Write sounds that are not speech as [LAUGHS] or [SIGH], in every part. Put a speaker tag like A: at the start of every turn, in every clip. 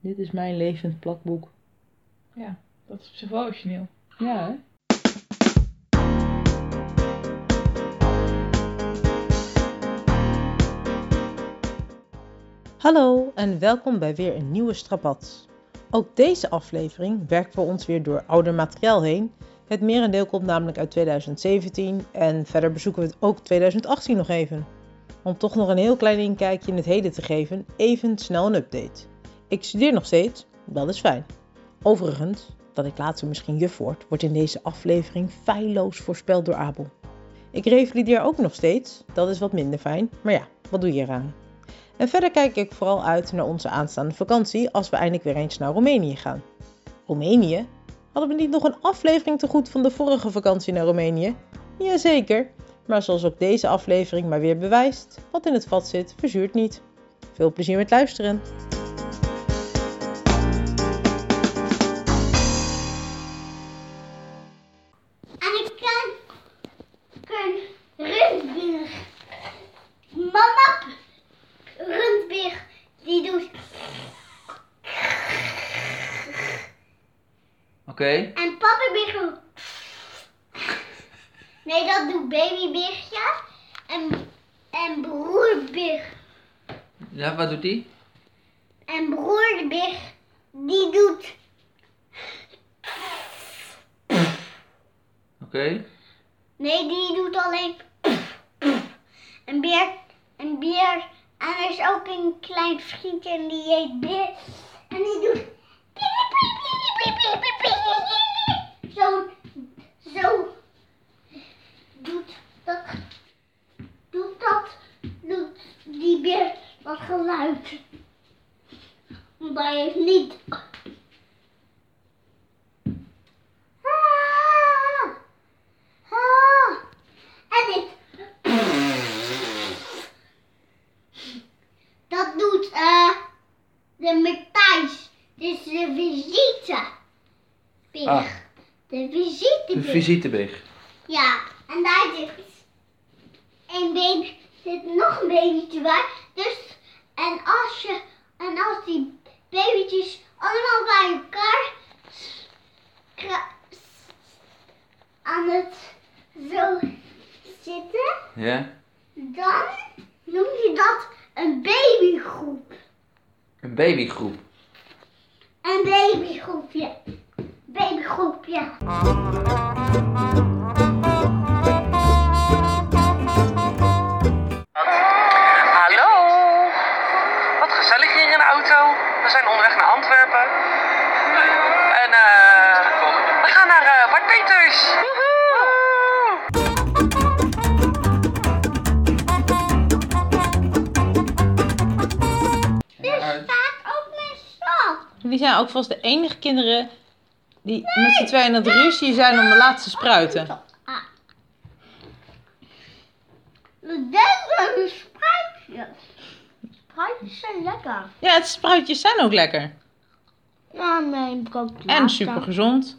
A: Dit is mijn levend plakboek.
B: Ja, dat is op zich wel origineel.
A: Ja, hè?
C: Hallo en welkom bij weer een nieuwe Strapad. Ook deze aflevering werken we ons weer door ouder materiaal heen. Het merendeel komt namelijk uit 2017 en verder bezoeken we het ook 2018 nog even. Om toch nog een heel klein inkijkje in het heden te geven, even snel een update. Ik studeer nog steeds, dat is fijn. Overigens, dat ik later misschien juf word, wordt in deze aflevering feilloos voorspeld door Abel. Ik revalideer ook nog steeds, dat is wat minder fijn, maar ja, wat doe je eraan? En verder kijk ik vooral uit naar onze aanstaande vakantie als we eindelijk weer eens naar Roemenië gaan. Roemenië? Hadden we niet nog een aflevering te goed van de vorige vakantie naar Roemenië? Jazeker, maar zoals ook deze aflevering maar weer bewijst, wat in het vat zit, verzuurt niet. Veel plezier met luisteren!
D: En ik kan, kan rundbeer. Mama rundbeer die doet.
E: Oké,
D: En papa beer doet. Nee, dat doet babybeertje. En, en broerbeer.
E: ja, wat doet die?
D: En broerbeer die doet.
E: Oké,
D: Nee, die doet alleen. Een beer. Een beer. En er is ook een klein vriendje en die heet Beer. En die doet. Zo. Zo. Doet dat. Doet dat. Doet die beer dat geluid. Want hij heeft niet. Ah. Ah, en dit. Dat doet eh de Matthijs. Dus de visite.
E: Ah.
D: De visite.
E: de visitebeeg.
D: Ja, en daar zit een baby, zit nog een babytje bij. Dus, en als je, en als die babytjes allemaal bij elkaar s- kra- s- aan het zo zitten,
E: Ja,
D: dan noem je dat een babygroep.
E: een babygroep.
D: Een babygroepje. Babygroepje.
F: Hallo. Wat gezellig hier in de auto. We zijn onderweg naar Antwerpen. En eh we gaan naar eh Bart Peters. Woehoe.
D: Er Dus staat ook mijn stad.
C: Jullie zijn ook vast de enige kinderen die met z'n tweeën aan het ruzie zijn om de laatste spruiten.
D: Ah. We denken aan spruitjes. Spruitjes zijn lekker.
C: Ja, het spruitjes zijn ook lekker.
D: Ja, mijn brood
C: En super gezond.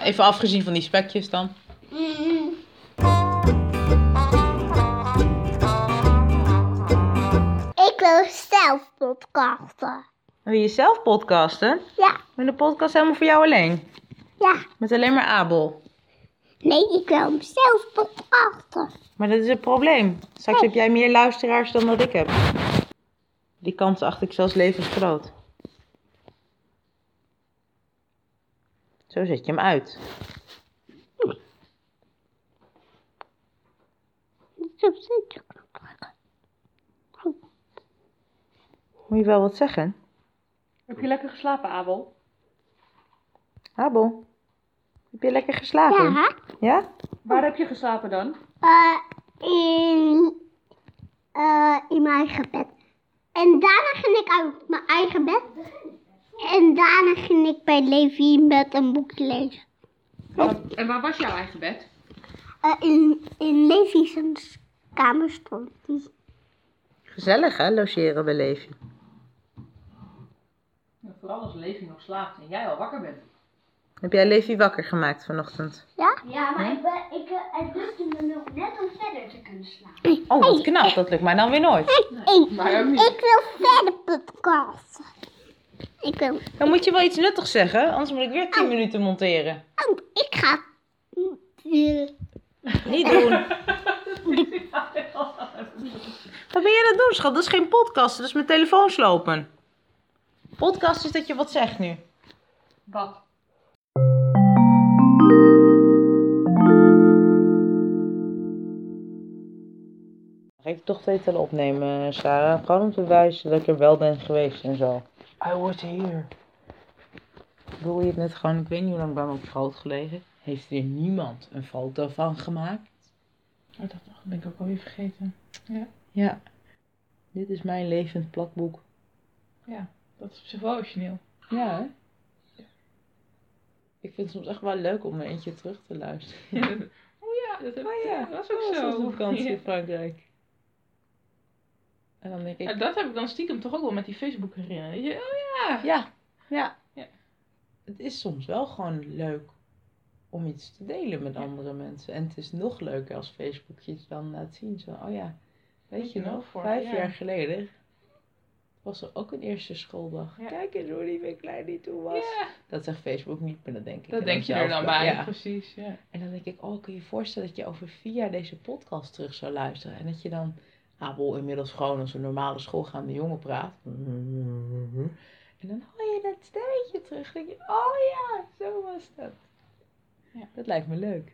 C: Even afgezien van die spekjes dan.
D: Ik wil zelf podcasten.
C: Wil je zelf podcasten?
D: Ja,
C: Met de podcast helemaal voor jou alleen.
D: ja.
C: Met alleen maar Abel.
D: Nee, ik wil hem zelf podcasten.
C: Maar dat is het probleem. Straks heb jij meer luisteraars dan dat ik heb. Die kans acht ik zelfs levensgroot. Zo zet je hem uit. Moet je wel wat zeggen?
B: Heb je lekker geslapen, Abel?
C: Abel, heb je lekker geslapen?
D: Ja,
C: Ja?
B: Waar heb je geslapen dan?
D: eh, in, eh, in mijn eigen bed. En daarna ging ik uit mijn eigen bed. En daarna ging ik bij Levi in bed een boekje lezen.
B: En waar was jouw eigen bed?
D: Eh, in, in Levi's kamer stond die.
C: Gezellig hè, logeren bij Levi.
B: vooral als Levi nog slaapt en jij al wakker bent.
C: Heb jij Levi wakker gemaakt vanochtend?
D: Ja? Ja, maar ik, ben, ik, eh, het lukte me nog net om verder te kunnen slapen.
C: Oh, wat knap. Dat lukt mij dan weer nooit.
D: Ik, ik wil verder podcasten. Ik wil.
C: Dan moet je wel iets nuttigs zeggen, anders moet ik weer 10 minuten [LAUGHS] monteren.
D: Oh, ik ga. Eh,
C: Niet doen. Wat ben jij aan het doen, schat? Dat is geen podcast, dat is mijn telefoon slopen. Podcast is dat je wat zegt nu.
G: Wat?
C: Geef toch twee tellen opnemen, Sarah. Gewoon om te bewijzen dat ik er wel ben geweest en zo. I was here. Wil je het net gewoon, ik weet niet hoe lang ik bij me op groot gelegen. Heeft hier niemand een foto van gemaakt?
B: Oh, dat ben ik ook alweer vergeten.
C: Ja. Dit is mijn levend plakboek.
B: Dat is op zich wel origineel.
C: Ja, hè? Ik vind het soms echt wel leuk om er eentje terug te luisteren.
B: Oh ja, dat heb ik- dat was ook
C: Oh, Dat
B: zo.
C: op vakantie
B: Ja.
C: in Frankrijk. En dan denk
B: Ja,
C: ik,
B: dat heb ik dan stiekem toch ook wel met die Facebook herinneren. Weet je,
C: ja, ja,
B: Ja.
C: Het is soms wel gewoon leuk om iets te delen met andere mensen. En het is nog leuker als Facebook je iets dan laat zien. Zo, oh ja, weet je
B: je
C: nog,
B: nog, vorig
C: vijf
B: jaar.
C: jaar geleden was er ook een eerste schooldag.
B: Ja.
C: Kijk eens hoe lief en klein die toen was.
B: Ja,
C: Dat zegt Facebook niet, maar dat denk ik.
B: oh, dat
C: aan
B: denk je er
C: mezelf
B: dan
C: wel.
B: bij.
C: Ja.
B: Precies, ja.
C: En dan denk ik, oh, kun je je voorstellen dat je over vier jaar deze podcast terug zou luisteren. En dat je dan, Abel inmiddels gewoon als een normale schoolgaande jongen praat. En dan hoor je dat stemmetje terug. Dan denk je, oh ja, zo was dat.
B: Ja.
C: Dat lijkt me leuk.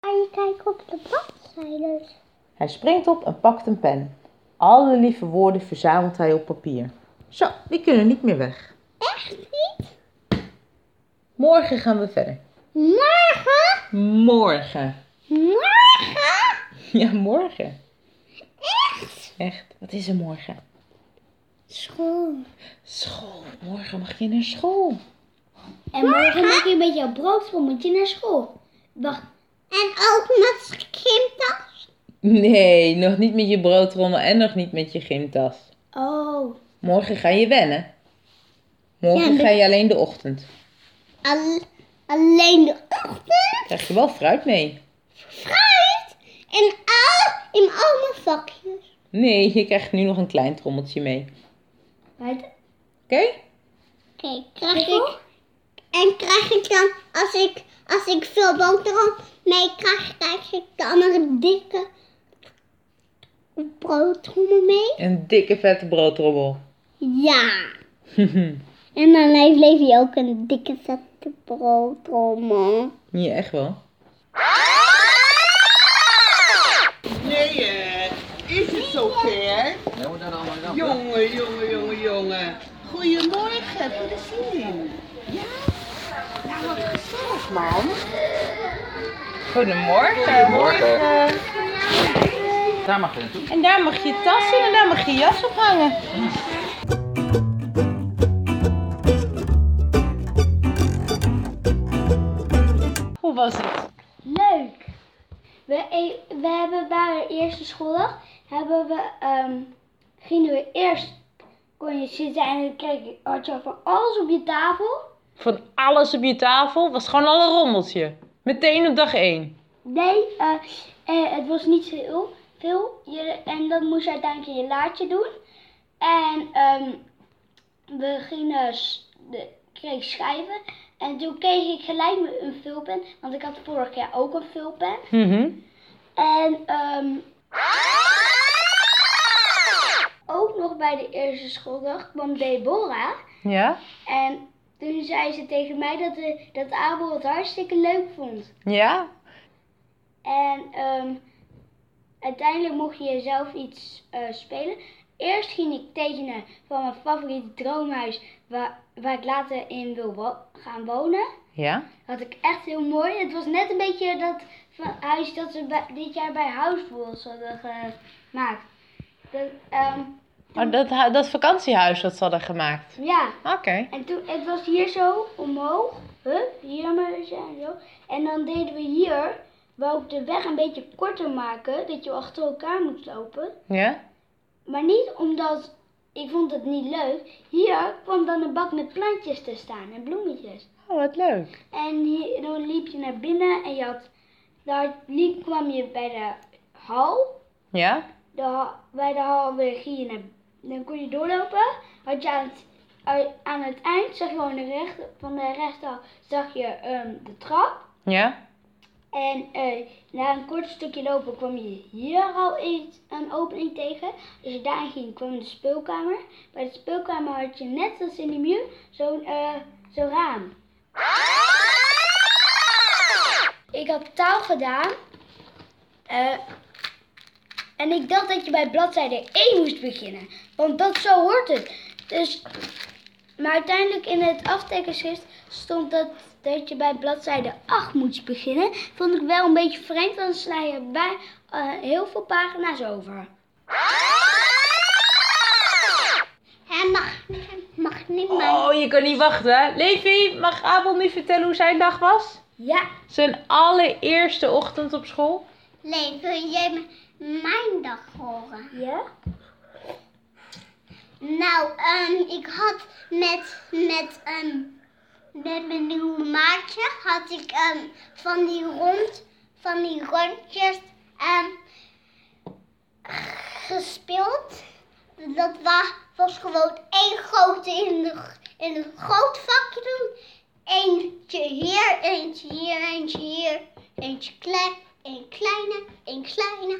D: Ga je kijken op de bladzijden?
C: Hij springt op en pakt een pen. Alle lieve woorden verzamelt hij op papier. Zo, die kunnen niet meer weg.
D: Echt niet?
C: Morgen gaan we verder.
D: Morgen?
C: Morgen.
D: Morgen?
C: [LAUGHS] Ja, morgen. Echt? Echt. Wat is er morgen?
D: Schoon.
C: School. Morgen mag je naar school.
D: En morgen maak je een beetje jouw brood voor, moet je naar school. Wacht. En ook met gymtas?
C: Nee, nog niet met je broodrommel en nog niet met je gymtas.
D: Oh.
C: Morgen ga je wennen. Morgen
D: Ja,
C: ga je alleen de ochtend.
D: Al- alleen de ochtend?
C: Krijg je wel fruit mee?
D: Fruit? En al, in al mijn vakjes.
C: Nee, je krijgt nu nog een klein trommeltje mee. Oké?
D: Oké, krijg ik... En krijg ik dan, als ik, als ik veel boterham mee krijg, krijg ik dan een dikke broodtrommel mee?
C: Een dikke vette broodrommel. [LAUGHS]
D: Ja. En dan heeft Levi ook een dikke vette broodtrommel.
C: ja, echt wel.
H: Is het zover?
E: Nou, dan allemaal dan.
H: Jongen, jongen, jongen, jongen. Goedemorgen, voor de zin. Ja? Nou, wat gezellig, man.
C: Goedemorgen.
E: Morgen. Daar mag je naartoe.
C: En daar mag je tas in en daar mag je jas op hangen. Hoe was het?
D: Leuk. We, e- we hebben bij de eerste schooldag hebben we, ehm, gingen we eerst kon je zitten en dan kreeg je, had je van alles op je tafel.
C: Van alles op je tafel was gewoon al een rommeltje. Meteen op dag 1.
D: Nee, eh, eh, het was niet veel. veel. Je, en dan moest je uiteindelijk je laadje doen. En ehm, we gingen, s- de, kreeg schrijven. En toen kreeg ik gelijk me- een vulpen. Want ik had vorig jaar ook een vulpen.
A: Mhm.
D: En ehm, ook nog bij de eerste schooldag kwam Deborah.
C: Ja?
D: En toen zei ze tegen mij dat, de, dat Abel het hartstikke leuk vond.
C: Ja?
D: En ehm, uiteindelijk mocht je zelf iets eh, spelen. Eerst ging ik tekenen van mijn favoriete droomhuis waar, waar ik later in wil wo- gaan wonen.
C: Ja?
D: Dat had ik echt heel mooi. Het was net een beetje dat van huis dat ze bij- dit jaar bij Housewolves hadden gemaakt. Dat, ehm,
C: Oh, dat, hu- dat vakantiehuis dat ze hadden gemaakt.
D: ja,
C: Oké.
D: en toen, het was hier zo omhoog. Hup, hier maar eens en zo. En dan deden we hier, wou ik de weg een beetje korter maken, dat je achter elkaar moet lopen.
C: Ja?
D: Maar niet omdat ik vond het niet leuk. Hier kwam dan een bak met plantjes te staan en bloemetjes.
C: Oh, wat leuk.
D: En hier, dan liep je naar binnen en je had, daar liep, kwam je bij de hal.
C: Ja?
D: De, ha- bij de hal weer ging je naar
I: dan kon je doorlopen. Had je aan het,
D: eh,
I: ui- aan het eind zag je gewoon de recht, van de rechterhand zag je ehm, de trap.
A: Ja?
I: En eh, na een kort stukje lopen kwam je hier al iets, een opening tegen. Als je daarin ging, kwam de speelkamer. Bij de speelkamer had je net als in de muur zo'n eh, zo'n raam. Ik had taal gedaan. eh, en ik dacht dat je bij bladzijde 1 moest beginnen. Want dat zo hoort het. Dus, maar uiteindelijk in het aftekenschrift stond dat, dat je bij bladzijde 8 moest beginnen. Vond ik wel een beetje vreemd, want dan sla je bij eh, heel veel pagina's over.
D: Hij mag, hij mag niet maar.
A: Oh, je kan niet wachten, hè? Levi, mag Abel nu vertellen hoe zijn dag was?
I: Ja,
A: Zijn allereerste ochtend op school?
D: Leen, wil jij m- mijn dag horen?
I: ja.
D: Nou, ehm, ik had met, met, ehm, met mijn nieuwe maatje had ik ehm, van die rond, van die rondjes ehm, gespeeld. Dat wa- was gewoon één grote in, de, in het groot vakje doen. Eentje hier, eentje hier, eentje hier, eentje klein, een kleine, een kleine.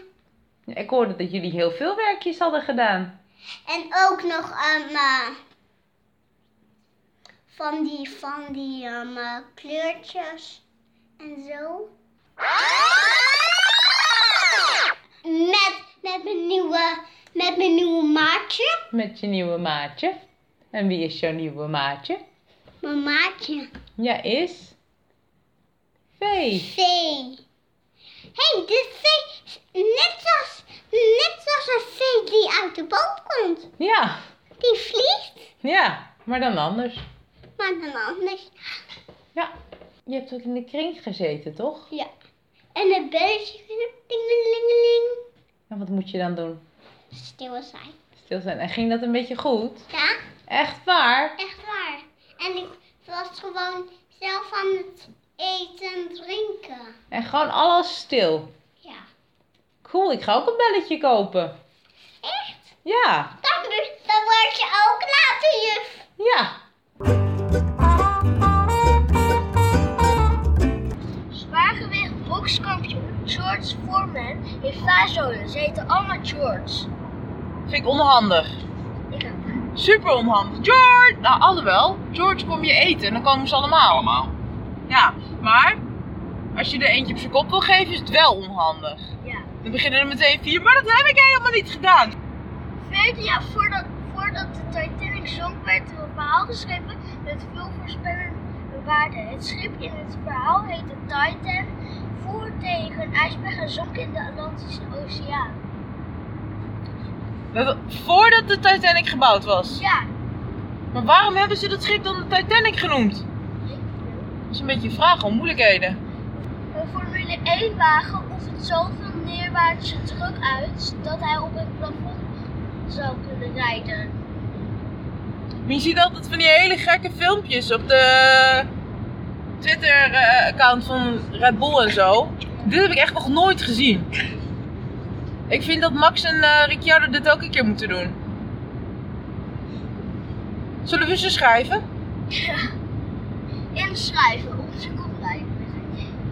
A: Ik hoorde dat jullie heel veel werkjes hadden gedaan.
D: En ook nog ehm, eh, van die, van die ehm, eh, kleurtjes en zo. Met, met, mijn nieuwe, met mijn nieuwe maatje.
A: Met je nieuwe maatje. En wie is jouw nieuwe maatje?
D: Mijn maatje.
A: Ja, is... Vee.
D: Vee. hey, dit vee is net zoals, net zoals een vee die uit de boom komt.
A: Ja,
D: Die vliegt,
A: ja. Maar dan anders.
D: maar dan anders.
A: Ja. Je hebt ook in de kring gezeten, toch?
D: En een belletje. Dingelingeling.
A: En wat moet je dan doen?
D: Stil zijn.
A: Stil zijn. En ging dat een beetje goed?
D: Ja,
A: Echt waar?
D: echt waar. En ik was gewoon zelf aan het eten en drinken.
A: En gewoon alles stil.
D: Ja.
A: Cool, ik ga ook een belletje kopen.
D: Echt?
A: Ja,
D: Dan, bu- dan word je ook later juf.
A: ja.
I: Zwaargewicht bokskampioen George Foreman heeft vaarzolen. Ze heten allemaal George.
C: Vind ik onhandig.
I: Ik ook.
C: Super onhandig. George! Nou, alhoewel. George, kom je eten. Dan komen ze allemaal. Allemaal. Ja, maar als je er eentje op zijn kop wil geven, is het wel onhandig.
I: Ja.
C: Dan beginnen er meteen vier, maar dat heb ik helemaal niet gedaan.
I: 14 jaar voordat, voordat de Titanic zonk werd er een verhaal geschreven met veel voorspellende waarde. Het schip in het verhaal heette Titan, voer tegen een ijsberg en zonk in de Atlantische Oceaan.
C: Dat- Voordat de Titanic gebouwd was.
I: Ja,
C: Maar waarom hebben ze dat schip dan de Titanic genoemd? Dat is een beetje een vraag om moeilijkheden.
I: een Formule 1 wagen oefent zoveel neerwaartse druk uit dat hij op het plafond zou kunnen rijden.
C: Maar je ziet altijd van die hele gekke filmpjes op de Twitter-account van Red Bull en zo. Dit heb ik echt nog nooit gezien. Ik vind dat Max en eh, Ricciardo dit ook een keer moeten doen. Zullen we ze schrijven?
I: inschrijven op zijn koplijst.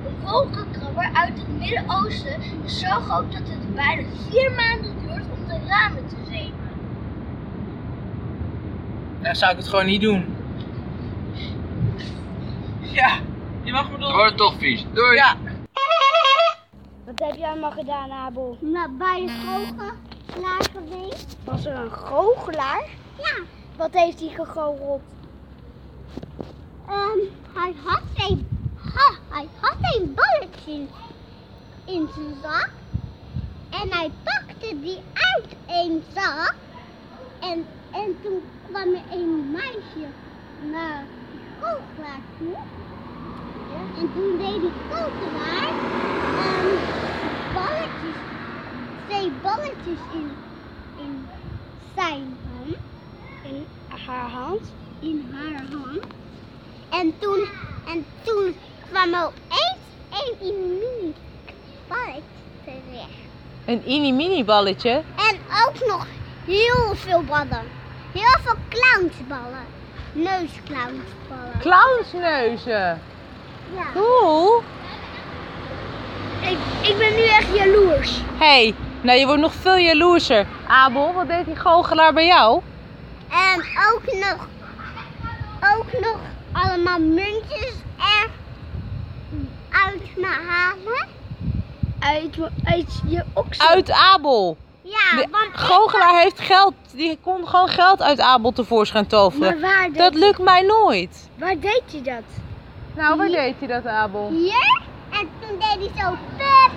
I: Een wolkenkrabber uit het Midden-Oosten is zo groot dat het bijna vier maanden duurt om de ramen te zeven.
C: Nou, zou ik het gewoon niet doen. Ja, je mag me door.
F: Wordt toch vies. Doei.
C: Ja,
I: Wat heb je allemaal gedaan, Abel?
D: Nou, bij de grote klaar geweest.
I: Was er een goochelaar?
D: Ja.
I: Wat heeft hij gegoocheld?
D: Ehm, hij, had een, ha, hij had een balletje in- in zijn zak. En hij pakte die uit een zak. En, en toen kwam er een meisje naar de goochelaar toe. En toen deed die goochelaar ehm, balletjes, twee balletjes in, in zijn hand
I: In haar hand?
D: in haar hand. En toen, en toen kwam er opeens een mini balletje terecht.
A: Een mini-mini balletje.
D: En ook nog Heel veel ballen. Heel veel clownsballen. Neusclownsballen.
C: Clownsneuzen.
D: Ja.
C: Cool.
D: Ik, ik ben nu echt jaloers.
C: hey, nou je wordt nog veel jaloerser. Abel, wat deed die goochelaar bij jou?
D: En ook nog, ook nog allemaal muntjes er uit me halen.
I: Uit, uit je oksel.
C: Uit Abel.
D: Ja,
C: De
D: want ik-
C: Goochelaar heeft geld. Die kon gewoon geld uit Abel tevoorschijn toveren.
I: Maar waar
C: Dat
I: deed,
C: lukt mij nooit.
I: waar deed je dat?
C: Nou, waar deed hij dat, Abel?
D: hier en toen deed hij zo pup,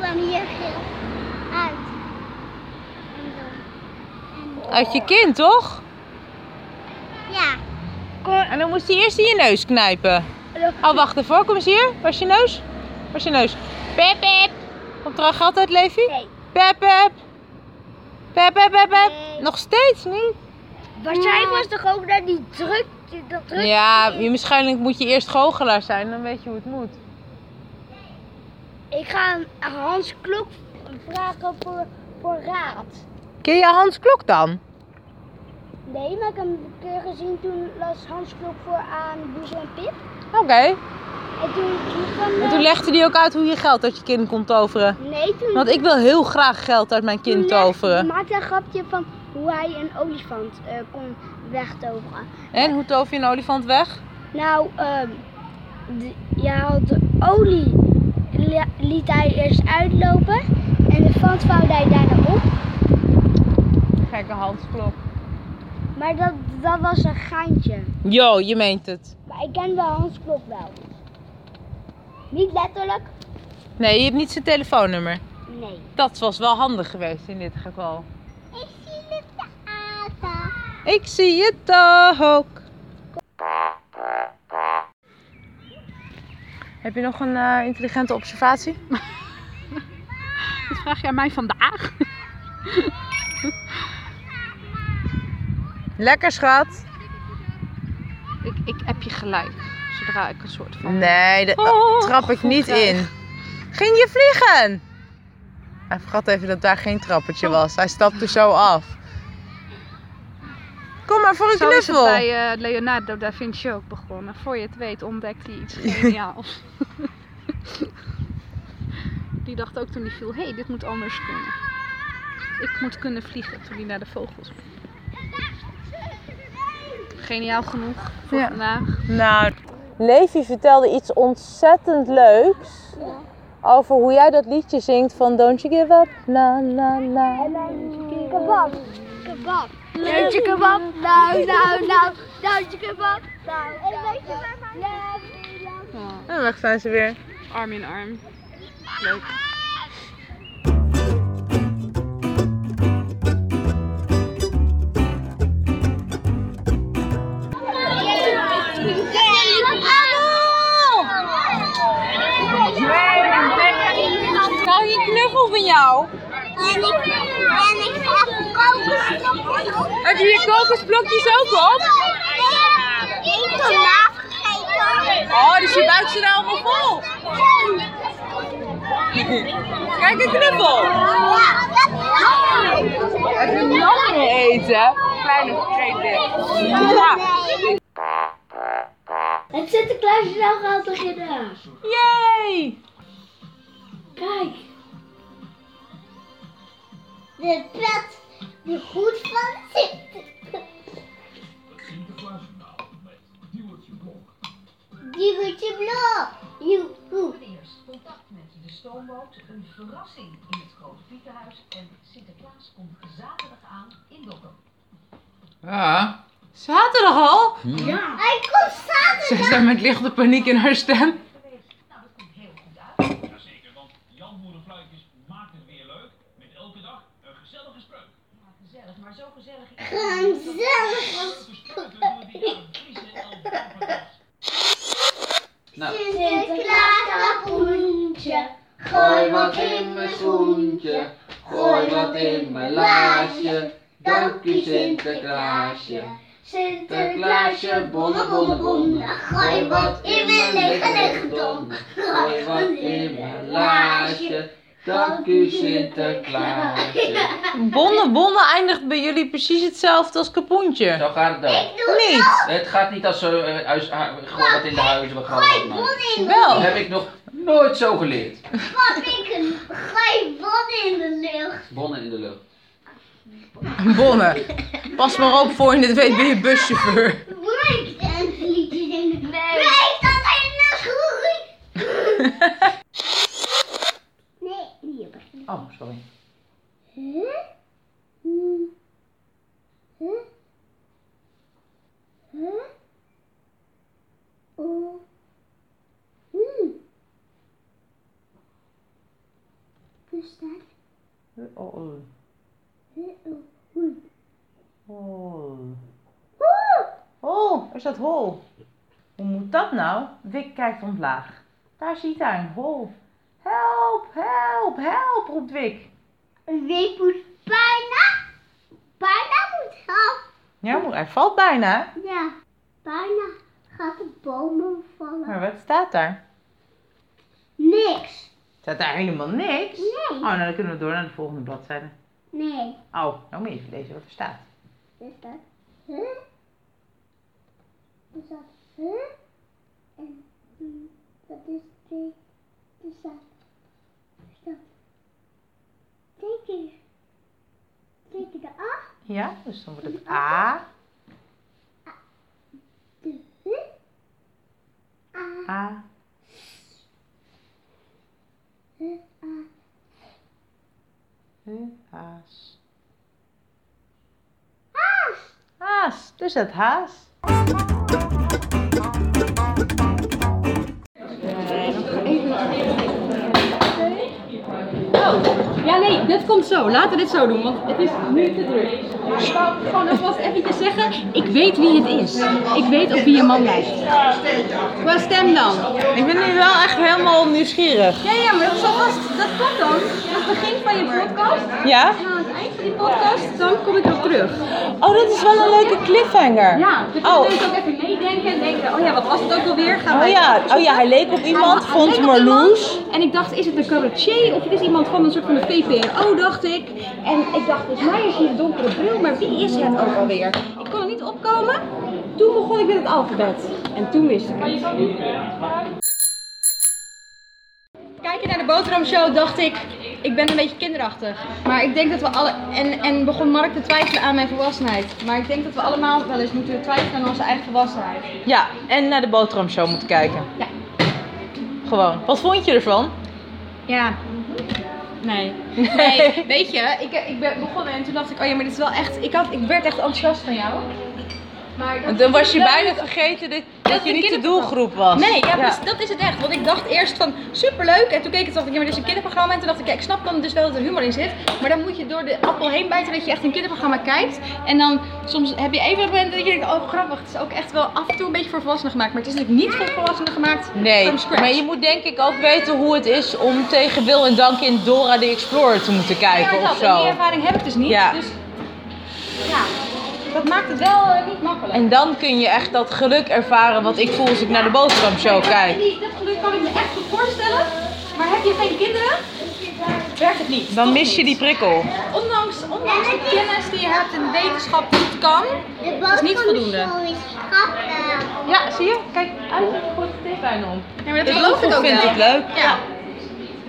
D: kwam hier geel uit. En zo. En zo.
C: Uit je kind, toch?
D: Ja,
C: En dan moest hij eerst in je neus knijpen.
I: Dat-
C: Oh, wacht even. Kom eens hier. Waar is je neus? Waar is je neus? Pep, pep. Komt er al gat uit, Levi?
D: Nee.
C: Pep, pep. Pep, pep, pep, pep.
D: Nee.
C: Nog steeds niet?
I: Waarschijnlijk was toch ook naar die drukte, dat drukte.
C: Ja, je, waarschijnlijk moet je eerst goochelaar zijn. Dan weet je hoe het moet.
I: Ik ga aan Hans Klok vragen voor, voor raad.
C: Ken je Hans Klok dan?
I: Nee, maar ik heb hem een keer gezien toen las Hans Klok voor aan Boezel en Pip.
C: Oké.
I: En toen kwam
C: En toen legde hij ook uit hoe je geld uit je kind kon toveren.
I: Nee, toen...
C: Want ik wil heel graag geld uit mijn kind
I: Hij
C: toveren.
I: maakte een grapje van hoe hij een olifant eh, kon wegtoveren.
C: En hoe tover je een olifant weg?
I: Nou, ehm de, ja, de olie li- liet hij eerst uitlopen en de vand vouwde hij daarna op.
C: Gekke handsklok.
I: Maar dat, dat was een geintje.
C: Jo, je meent het.
I: Maar ik ken wel Hans Klok wel. Niet letterlijk?
C: Nee, je hebt niet zijn telefoonnummer.
I: Nee.
C: Dat was wel handig geweest in dit geval.
D: ik zie het de apen.
C: Ik zie het ook. Heb je nog een eh, intelligente observatie?
J: [LAUGHS] Dat vraag jij mij vandaag?
C: Lekker schat.
J: Ik, ik heb je gelijk. Zodra ik een soort van...
C: Nee, daar
J: Oh,
C: trap ik
J: gevoel
C: niet
J: krijg.
C: in. Ging je vliegen? Hij vergat even dat daar geen
J: Oh.
C: trappetje was. Hij stapte zo af. Kom maar voor een
J: Zo is het
C: knuffel.
J: bij eh, Leonardo da Vinci ook begonnen. Voor je het weet ontdekt hij
C: [LAUGHS]
J: iets geniaals. [LAUGHS] Die dacht ook toen hij viel, hé, hey, dit moet anders kunnen. Ik moet kunnen vliegen toen hij naar de vogels ging. Geniaal genoeg voor
C: Ja.
J: vandaag.
C: Nou, Levi vertelde iets ontzettend leuks. Over hoe jij dat liedje zingt van Don't You Give Up. Na, na, na.
I: Kebab. Kebab. Leutje kebab. Nou, nou, nou. Leutje kebab. Nou, nou, nou.
J: Ja,
C: En weg zijn ze weer.
J: arm in arm. Leuk.
C: Nou, die knuffel van jou.
D: En ik, en ik heb een kokosblokje op.
C: Heb je je kokosblokjes ook op?
D: Nee, ik heb hem afgegeten.
C: Oh, dus je buik zit allemaal vol. Kijk, een knuffel.
D: Ja, dat
C: Heb je een lam eten? Kleine vergeten. Ja.
I: Het Sinterklaasje nou gaat beginnen.
C: Yay!
I: Kijk.
D: De pet, de hoed van Sinterklaas. Diewertje Blok. Joehoe.
C: Ja. Zaterdag al?
D: Hij komt zaterdag.
C: Ze staat met lichte paniek in haar stem.
K: Jazeker, want Jan Boerenfluitjes maakt het weer leuk met elke dag een gezellige spreuk.
D: Gezellig.
K: Verspreuken door die aan het vriezen en elkaar
E: Nou.
D: Sinterklaas kapoentje. Gooi wat in mijn schoentje. Gooi wat in mijn laasje. Dank u Sinterklaasje. Sinterklaasje, bonne, bonne, bonne. Gooi wat in mijn lege, lege dom. Gooi wat in mijn laasje.
E: Dank u Sinterklaasje.
C: Bonne Bonne eindigt bij jullie precies hetzelfde als Kapoentje.
E: Zo gaat het ook.
C: Niet.
E: Het gaat niet als ze eh, huis, ha- gewoon wat in de huizen begaan. Dat
C: Wel.
E: heb ik nog nooit zo geleerd.
D: Wat ik een gooi bot in de lucht.
E: Bonnen in de lucht.
C: Bonne. Pas maar op voor je het weet ben je buschauffeur.
D: Break dance liedjes in de Break dat in de groei. Nee, hier begint.
E: Oh, sorry.
D: Huh? Hm. Huh? Huh? Oh. Hm. Dus dat. Huh, oh.
C: Oh, oh, is dat hol? Hoe moet dat nou? Wik kijkt omlaag. Daar ziet hij een hol. Help, help, help, roept Wik.
D: Een week moet bijna, bijna moet helpen.
C: Ja, moe, hij valt bijna.
D: Ja, bijna gaat de bomen vallen.
C: Maar wat staat daar?
D: Niks.
C: Staat daar helemaal niks?
D: Nee.
C: Oh, nou dan kunnen we door naar de volgende bladzijde.
D: Nee.
C: Oh, nou moet je even lezen wat er staat.
D: Is dat huh? Is dat huh? En mm, dat is twee. Is dat? Is dat? Twee keer. Twee keer de A.
C: Ja, dus dan wordt het A,
D: De huh? A.
C: A,
D: Huh? A.
C: H, Haas.
D: Haas.
C: Haas, dus dat haas.
I: Ja, nee, dit komt zo. Laten we dit zo doen, want het is nu te druk. Ik wou gewoon alvast eventjes zeggen, ik weet wie het is. Ik weet op wie je man lijkt. Wel, stem dan.
C: Ik ben nu wel echt helemaal nieuwsgierig.
I: Ja, ja, maar dat is alvast, dat komt dan. Aan het begin van je podcast
C: Ja?
I: en aan het eind van die podcast, dan kom ik erop terug.
C: Oh, dat is wel een leuke cliffhanger.
I: Ja, dus
C: Oh.
I: oh. je kunt ook even meedenken en denken, oh ja, wat was het ook alweer? Gaan
C: Oh
I: wij
C: ja, oh ja, hij leek op iemand, vond Marloes.
I: En ik dacht, is het een cabaretier of het is iemand van een soort van de VPRO, dacht ik. En ik dacht, volgens mij is hij een donkere bril, maar wie is het ook alweer? Ik kon er niet opkomen. Toen begon ik met het alfabet. En toen wist ik het. Kijken naar de boterhamshow dacht ik, ik ben een beetje kinderachtig. Maar ik denk dat we alle... En, en begon Mark te twijfelen aan mijn volwassenheid. Maar ik denk dat we allemaal wel eens moeten twijfelen aan onze eigen volwassenheid.
C: Ja, en naar de boterhamshow moeten kijken.
I: Ja.
C: Gewoon. Wat vond je ervan?
I: Ja. Nee.
C: [LAUGHS]
I: Nee, weet je, ik, ik ben begonnen en toen dacht ik, oh ja, maar dit is wel echt, ik, had, ik werd echt enthousiast van jou. Maar ik dacht,
C: Want dan was je
I: leuk.
C: bijna vergeten dat, dat
I: het
C: je
I: een
C: niet de
I: kinderprogramma-
C: doelgroep was.
I: Nee, ja, precies, dat is het echt. Want ik dacht eerst van superleuk. En toen keek ik en dacht ik, ja, maar dit is een kinderprogramma. En toen dacht ik, ja, ik snap dan dus wel dat er humor in zit. Maar dan moet je door de appel heen bijten dat je echt een kinderprogramma kijkt. En dan soms heb je even een moment dat je denkt, oh grappig. Het is ook echt wel af en toe een beetje voor volwassenen gemaakt. Maar het is natuurlijk niet voor volwassenen gemaakt.
C: Nee,
I: From scratch.
C: maar je moet denk ik ook weten hoe het is om tegen wil en dank in Dora de Explorer te moeten kijken
I: Ja, dat.
C: of
I: En die
C: zo.
I: ervaring heb ik dus niet.
C: Ja.
I: Dus ja, dat maakt het wel eh, niet makkelijk.
C: En dan kun je echt dat geluk ervaren wat ik voel als ik naar de boterhamshow
I: En
C: kijk.
I: die- dat geluk kan ik me echt goed voorstellen. Maar heb je geen kinderen? Werkt het niet.
C: Dan
I: Toch
C: mis je
I: niet.
C: die prikkel.
I: Ondanks, ondanks de kennis die je hebt en de wetenschap die het kan.
D: De
I: is niet voldoende.
D: boterhamshow is grappig.
I: Ja, zie je? Kijk,
C: Goed tv om.
I: ja, maar
C: Ik
I: dat geloof ik ook
C: vind
I: wel.
C: het leuk.
I: Ja.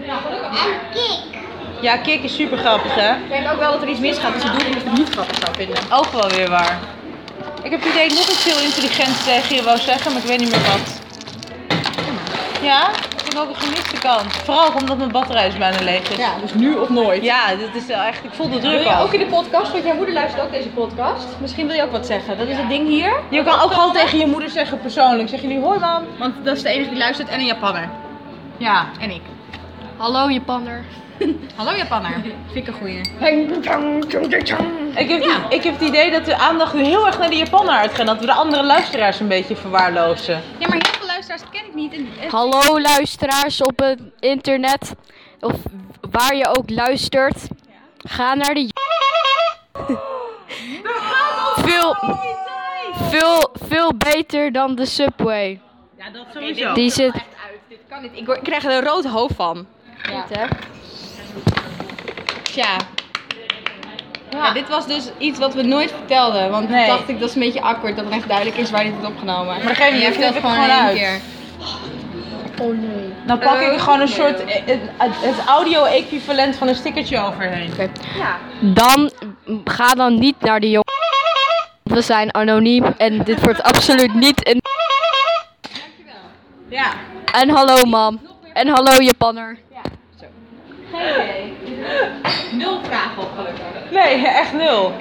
D: En kik.
C: Ja, kik is super grappig hè.
I: Ik denk ook wel dat er iets misgaat als je doet omdat je het niet grappig zou vinden.
C: Ook wel weer waar. Ik heb het idee dat ik nog iets heel intelligents tegen je wou zeggen, maar ik weet niet meer wat. Ja, ik vind ook een gemiste kans. Vooral ook omdat mijn batterij is bijna leeg is.
I: Ja, dus nu of nooit.
C: Ja, dit is wel echt, ik voel de
I: Wil
C: druk
I: je
C: al.
I: ook in de podcast, want jouw moeder luistert ook deze podcast. Misschien wil je ook wat zeggen. Dat is het ding hier.
C: Je kan ook gewoon tegen je moeder zeggen persoonlijk. Zeg je nu hoi mam.
I: Want dat is de enige die luistert en een Japanner.
C: Ja.
I: En ik. Hallo Japanner. Hallo Japanner. Vind ik een goeie.
C: Ik heb, het- ik heb het idee dat de aandacht nu heel erg naar de Japaner uitgaat. Dat we de andere luisteraars een beetje verwaarlozen.
I: Ja, maar heel veel luisteraars ken ik niet. En, en-
J: Hallo luisteraars op het internet, of waar je ook luistert. Ga naar
C: [LAUGHS]
J: de... veel, veel, veel beter dan de Subway.
C: Ja, dat
I: sowieso.
J: Die zit...
I: Dit kan niet. Ik, word- ik krijg er een rood hoofd van.
J: Goed, hè? Tja. Ja, dit was dus iets wat we nooit vertelden. Want
C: Nee.
J: dacht ik, dat is een beetje awkward dat het echt duidelijk is waar dit wordt opgenomen.
C: Maar dat geeft niet,
J: Je
C: dit
J: vertelt
C: knip ik gewoon
J: in één
C: uit.
J: keer.
I: Oh nee.
C: Dan
J: pak ik er
C: gewoon
J: een soort-
C: het audio-equivalent van een stickertje overheen.
J: Ja.
L: Dan ga dan niet naar de jongen. We zijn anoniem en dit wordt absoluut niet een.
C: Ja.
L: En hallo mam. En hallo Japanner.
J: Nul vragen op gelukkig.
C: Nee, echt nul.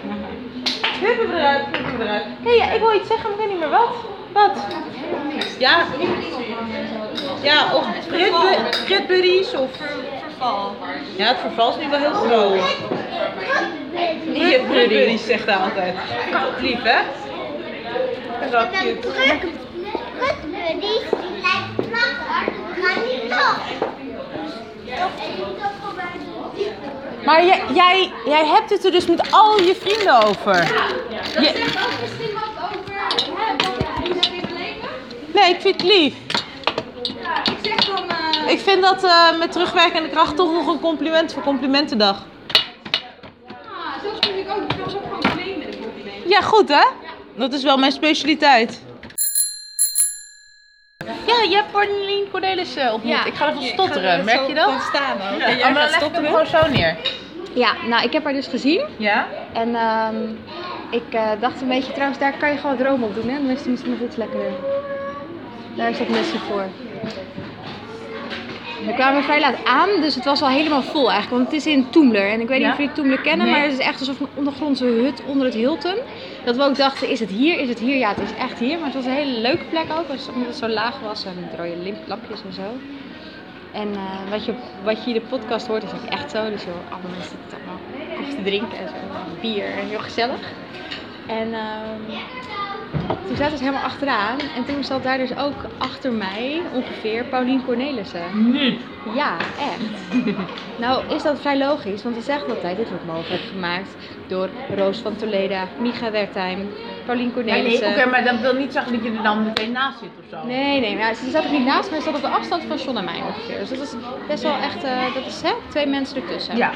C: Knippen we eruit, knippen we eruit. Hé, ja, ik wil iets zeggen, maar ik weet niet meer wat. Wat? Ja, ja of Grid- Grid Buddies of...
J: Verval.
C: Ja, het verval is nu wel heel groot. Die
D: Hier,
C: Grid Buddies zegt hij altijd. Lief, hè? Dat is wel cute.
D: Rutbuddies, die lijkt platter, maar niet toch.
C: Maar jij, jij, jij hebt het er dus met al je vrienden over. Je-
J: ook misschien wat over hè, wat je vrienden in leven.
C: nee, ik vind het lief.
J: Ja, ik zeg dan. eh,
C: Ik vind dat eh, met terugwerkende kracht toch nog een compliment voor Complimentendag.
J: ah, zelfs moet ik ook, ik was ook gewoon gemeen met een compliment.
C: Ja, goed hè? Dat is wel mijn specialiteit. Ja, je hebt Corneline Cornelis eh, ontmoet.
L: Ja.
C: Ik ga ervan stotteren, merk je dat?
J: staan ook.
C: Ja, oh, maar dan leg ik hem gewoon zo neer.
J: Ja, nou ik heb haar dus gezien.
C: Ja?
J: En ehm, ik eh, dacht een beetje, trouwens daar kan je gewoon droom op doen hè. Dan is het misschien nog iets lekkerder. Daar is dat mesje voor. We kwamen vrij laat aan, dus het was al helemaal vol eigenlijk. Want het is in Toemler. En ik weet niet
C: Ja?
J: of jullie Toemler kennen,
C: Nee.
J: maar het is echt alsof een ondergrondse hut onder het Hilton. Dat we ook dachten, is het hier? Is het hier? Ja, het is echt hier. Maar het was een hele leuke plek ook, dus omdat het zo laag was en met rode lim- lampjes en zo. En eh, wat, je, wat je in de podcast hoort is ook echt zo. Dus joh, allemaal mensen zitten allemaal koffie te drinken en zo. en Bier en heel gezellig. En ehm, toen zaten ze helemaal achteraan. En toen zat daar dus ook achter mij ongeveer Paulien Cornelissen.
C: Niet.
J: Ja,
C: [LAUGHS]
J: echt. nou is dat vrij logisch, want ze zegt altijd, dit wordt mogelijk gemaakt door Roos van Toleda, Micha Wertheim, Paulien
C: Nee, nee
J: Cornelissen.
C: oké, maar dat wil niet zeggen dat je er dan meteen naast zit of zo.
J: Nee, nee, nou, ze zat ook niet naast mij, ze zat op de afstand van John en mij ongeveer. Dus dat is best wel echt, eh, dat is hè, twee mensen ertussen.
C: Ja.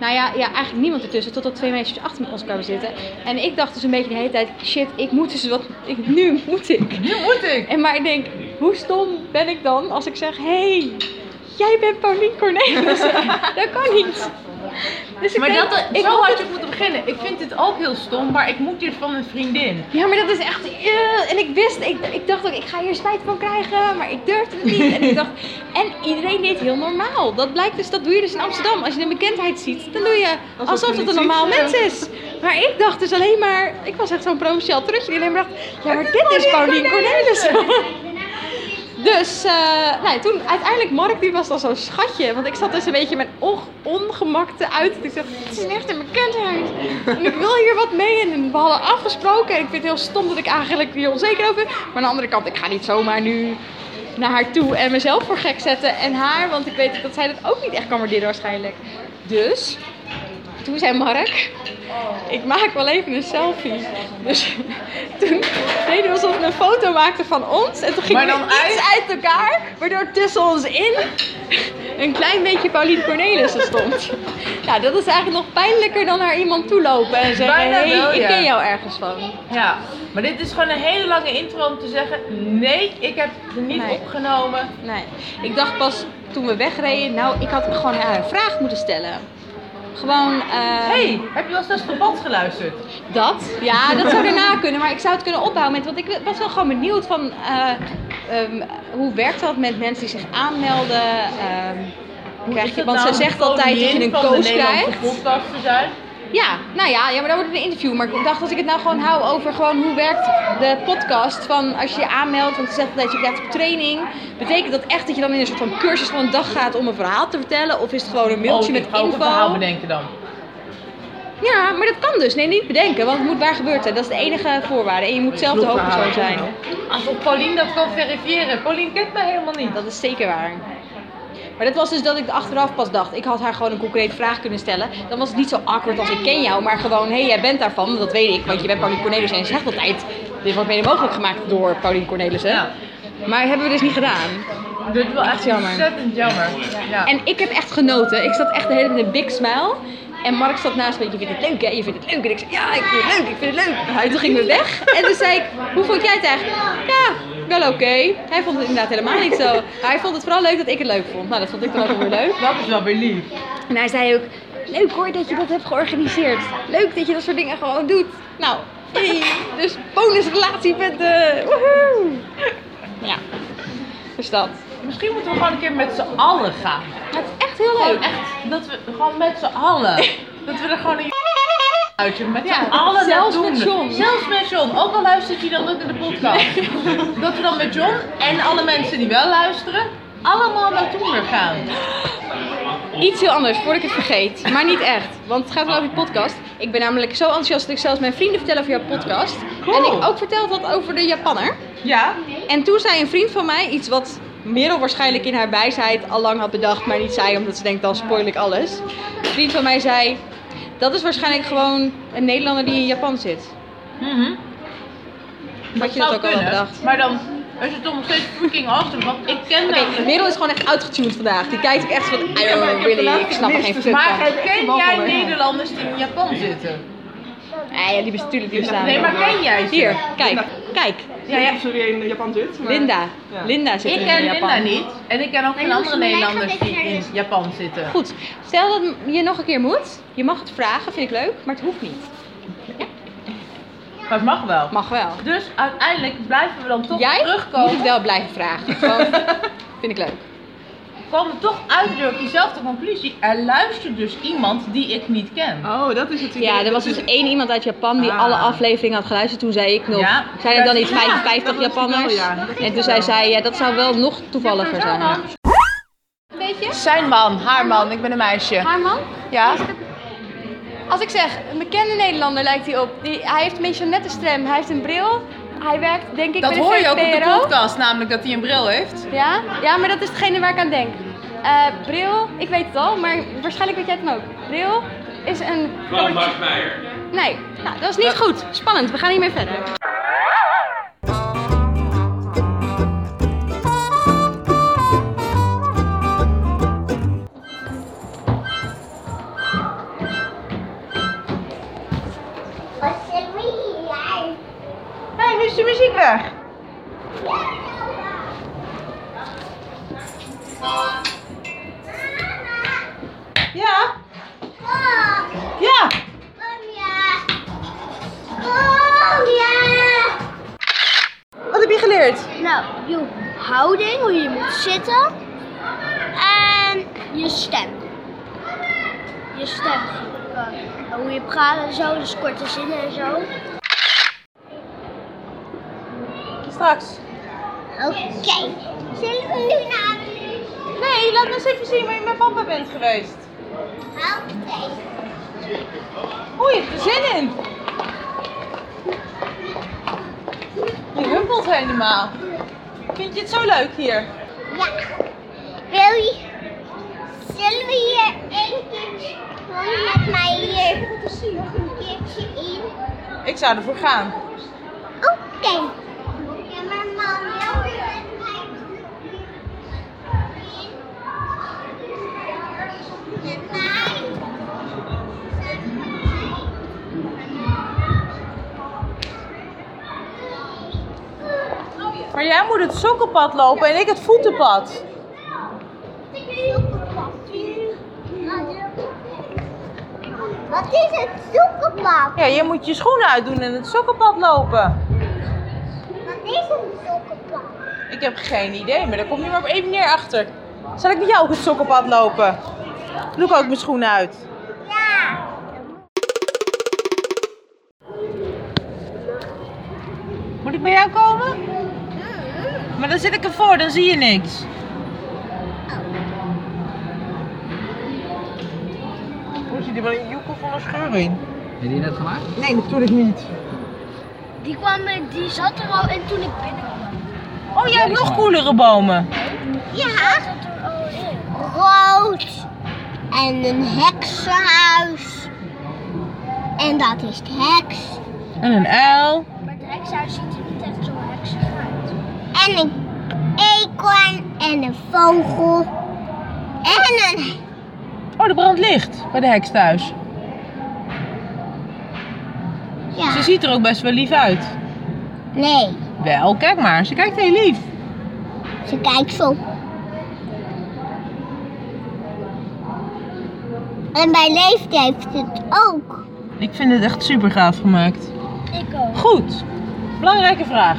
J: Nou ja, ja, eigenlijk niemand ertussen, totdat twee meisjes achter ons kwamen zitten. En ik dacht dus een beetje de hele tijd, shit, ik moet dus wat, ik, nu moet ik.
C: Nu moet ik.
J: En maar ik denk, hoe stom ben ik dan als ik zeg, hey, jij bent Paulien Cornelissen. [LAUGHS] dat kan niet. Dus ik
C: Maar
J: denk,
C: dat,
J: ik
C: zo
J: moet
C: had
J: het-
C: je moeten beginnen. Ik vind dit ook heel stom, maar ik moet dit van een vriendin.
J: Ja, maar dat is echt. eh, en ik wist, ik, ik dacht ook, ik ga hier spijt van krijgen, maar ik durfde het niet. En ik dacht, [LAUGHS] en iedereen deed heel normaal. Dat blijkt dus, dat doe je dus in Amsterdam. Als je een bekendheid ziet, dan doe je alsof,
C: je
J: dat
C: niet
J: een normaal
C: ziet, ja.
J: mens is. Maar ik dacht dus alleen maar, ik was echt zo'n provinciaal terug. die alleen maar dacht,
C: [LAUGHS]
J: ja, maar dit is Paulien Cornelissen. Dus eh, nou, toen uiteindelijk, Mark die was dan zo'n schatje. Want ik zat dus een beetje mijn onge- ongemak te uit. Ik dacht, het is een echte bekendheid. En ik wil hier wat mee. En we hadden afgesproken. En ik vind het heel stom dat ik eigenlijk hier onzeker over ben. Maar aan de andere kant, ik ga niet zomaar nu naar haar toe en mezelf voor gek zetten. En haar, want ik weet dat zij dat ook niet echt kan waarderen waarschijnlijk. Dus, toen zei Mark, ik maak wel even een selfie. Dus [LAUGHS] toen deden we alsof we een foto maakten van ons. En toen gingen
C: Maar dan
J: we iets uit elkaar, waardoor tussen ons in een klein beetje Pauline Cornelissen stond. Nou, dat is eigenlijk nog pijnlijker dan naar iemand toelopen en zeggen,
C: Bijna
J: hey,
C: wel,
J: ik
C: ja.
J: ken jou ergens van.
C: Ja, maar dit is gewoon een hele lange intro om te zeggen: nee, ik heb het niet
J: Nee.
C: opgenomen.
J: Nee, ik dacht pas toen we wegreden, nou, ik had gewoon haar een vraag moeten stellen. Gewoon, eh,
C: hey, heb je wel eens naar het verband geluisterd?
J: dat. Ja, dat zou daarna kunnen, maar ik zou het kunnen ophouden met, want ik was wel gewoon benieuwd van, eh, ehm, hoe werkt dat met mensen die zich aanmelden? ehm, krijg
C: Is
J: je,
C: dat
J: want
C: nou
J: ze
C: de
J: zegt altijd dat je
C: koningin
J: een
C: van de
J: coach
C: Nederlandse
J: krijgt.
C: podcast te zijn?
J: Ja, nou ja, ja, maar dan wordt het een interview. Maar ik dacht als ik het nou gewoon hou over gewoon hoe werkt de podcast van als je je aanmeldt, want ze zegt dat je krijgt op training. Betekent dat echt dat je dan in een soort van cursus van een dag gaat om een verhaal te vertellen? Of is het gewoon een mailtje
C: Oh, ik
J: met
C: ga ook
J: info?
C: een verhaal bedenken dan.
J: Ja, maar dat kan dus. Nee, niet bedenken, want het moet waar gebeurd zijn. Dat is de enige voorwaarde. En je moet zelf de hoofdpersoon zijn.
C: Alsof Paulien dat kan verifiëren. Paulien kent mij helemaal niet.
J: Dat is zeker waar. Maar dat was dus dat ik achteraf pas dacht. Ik had haar gewoon een concrete vraag kunnen stellen. Dan was het niet zo awkward als ik ken jou. Maar gewoon, hé, hey, jij bent daarvan. want Dat weet ik, want je bent Paulien Cornelissen. En ze zegt altijd, dit wordt mede mogelijk gemaakt door Paulien Cornelissen.
C: Ja.
J: Maar hebben we dus niet gedaan.
C: Dit is wel echt jammer.
B: Ontzettend jammer. Ja.
J: En ik heb echt genoten. Ik zat echt de hele tijd met een big smile. En Mark zat naast me. Je vindt het leuk, hè? Je vindt het leuk. En ik zei, ja, ik vind het leuk, ik vind het leuk. En toen gingen we weg. En toen zei ik, hoe vond jij het eigenlijk? Ja, wel oké. Hij vond het inderdaad helemaal niet zo. Hij vond het vooral leuk dat ik het leuk vond. Nou, dat vond ik dan ook wel weer leuk.
C: Dat is wel weer lief.
J: En hij zei ook, leuk hoor dat je dat hebt georganiseerd. Leuk dat je dat soort dingen gewoon doet. Nou, hey, dus bonusrelatie met de... woehoe. Ja, dus dat.
C: Misschien moeten we gewoon een keer met z'n allen gaan.
J: Het is echt heel
C: Gewoon
J: leuk.
C: echt, dat we gewoon met z'n
J: [LAUGHS]
C: allen. dat we er gewoon een uitje met z'n
J: Ja,
C: allen
J: zelfs
C: naartoe
J: met
C: doen.
J: John.
C: Zelfs met John, ook al luistert hij dan niet naar de podcast. dat we dan met John en alle mensen die wel luisteren, allemaal naartoe weer gaan.
J: Iets heel anders, voordat ik het vergeet. Maar niet echt, want het gaat wel over je podcast. Ik ben namelijk zo enthousiast dat ik zelfs mijn vrienden vertel over jouw podcast. En ik ook verteld had over de Japanner.
C: Ja?
J: En toen zei een vriend van mij iets wat Merel waarschijnlijk in haar wijsheid al lang had bedacht, maar niet zei, omdat ze denkt dan spoil ik alles. Een vriend van mij zei, dat is waarschijnlijk gewoon een Nederlander die in Japan zit.
C: Mhm.
J: Had je dat
C: zou
J: ook al wel
C: kunnen,
J: bedacht?
C: Maar dan is het toch nog steeds freaking awesome, want ik ken
J: Oké,
C: namelijk-
J: Merel is gewoon echt uitgetuned vandaag. Die kijkt echt van, I don't
C: Ja, maar
J: know,
C: ik heb de
J: really,
C: laatste
J: ik snap er geen
C: gemist, dus
J: fuck
C: Maar
J: van.
C: ken jij Nederlanders die in Japan zitten?
J: Ah ja, die besturen die bestaan.
C: Nee, maar ken jij ze?
J: Hier, kijk, kijk.
C: Ja, ja.
M: Sorry, in Japan zit. Maar...
J: Linda. Linda zit
C: Ik
J: in
C: ken
J: Japan.
C: Linda niet. En ik ken ook geen
J: je
C: andere
J: moest mij
C: Nederlanders
J: gaan
C: die in Japan zitten.
J: Goed, stel dat je nog een keer moet. Je mag het vragen, vind ik leuk, maar het hoeft niet.
C: Maar het mag wel.
J: Mag wel.
C: Dus uiteindelijk blijven we dan toch
J: Jij
C: terugkomen.
J: moet het wel blijven vragen. Gewoon,
C: [LAUGHS]
J: vind ik leuk.
C: We komen toch uit door diezelfde conclusie. Er luistert dus iemand die ik niet ken.
M: Oh, dat is het idee.
J: Ja, er was
M: Dat is-
J: dus één iemand uit Japan die
C: Ah.
J: alle afleveringen had geluisterd. Toen zei ik nog,
C: Ja.
J: zijn er dan niet
C: Ja,
J: 55
C: dat wist ik wel,
J: Japanners?
C: ja. Dat wist
J: En
C: ik
J: toen
C: wel.
J: zij zei, ja, dat zou wel nog toevalliger zijn. ja.
C: Zijn man, haar man, ik ben een meisje.
J: Haar man?
C: Ja?
J: Als ik zeg, een bekende Nederlander lijkt hij op. Die, hij heeft een beetje een nette stem, hij heeft een bril. Hij werkt denk ik
C: Dat
J: bij de
C: hoor je ook op de
J: VPRO.
C: podcast, namelijk dat hij een bril heeft.
J: Ja? ja, maar dat is degene waar ik aan denk. Eh, bril, ik weet het al, maar waarschijnlijk weet jij het dan ook. Bril is een...
K: Van Max Meijer.
J: Nee, nou, dat is niet goed. Spannend, we gaan hiermee verder.
D: Wat zeg je?
C: Hé, nu is de muziek weg. Ja?
D: Kom,
C: Ja!
D: kom ja. Kom ja.
C: Wat heb je geleerd?
I: Nou, je houding, hoe je moet zitten. En je stem. Je stem. En hoe je praat en zo, dus korte zinnen en zo.
C: Straks.
D: Oké. Zullen we nu naar huis?
C: Nee, laat me eens even zien waar je met papa bent geweest.
D: Oké.
C: Oei, je hebt er zin in. Je humpelt helemaal. Vind je het zo leuk hier?
D: Ja. Wil je... Zullen we hier één keertje gewoon met mij hier een keertje in?
C: Ik zou ervoor gaan.
D: Oké. Ja, maar mam, wil je met mij in? Met mij?
C: Maar jij moet het sokkenpad lopen en ik het voetenpad.
D: Wat is het sokkenpad?
C: Ja, jij moet je schoenen uitdoen en het sokkenpad lopen.
D: Wat is een sokkenpad?
C: Ik heb geen idee, maar daar kom je maar op één neer achter. Zal ik met jou ook het sokkenpad lopen? Doe ik ook mijn schoenen uit.
D: Ja.
C: Moet ik bij jou komen? Maar dan zit ik ervoor, dan zie je niks. Hoe zit er wel een joekel van een scheur in?
N: Heb je net gemaakt?
C: Nee, natuurlijk niet.
I: Die, kwam, eh, die zat er al en toen ik binnenkwam.
C: Oh, jij hebt nog koelere bomen.
D: Ja.
I: Zat er al in.
D: Rood. En een heksenhuis. En dat is de heks.
C: En een uil.
I: Maar het hekshuis ziet er niet echt zo heksig uit.
D: En een eekhoorn en en een vogel. En een...
C: Oh, de brand licht bij de heks thuis. Ze ziet er ook best wel lief uit.
D: Nee.
C: Wel, kijk maar. Ze kijkt heel lief.
D: Ze kijkt zo. En bij leeftijd heeft het ook.
C: Ik vind het echt super gaaf gemaakt.
D: Ik ook.
C: Goed. Belangrijke vraag.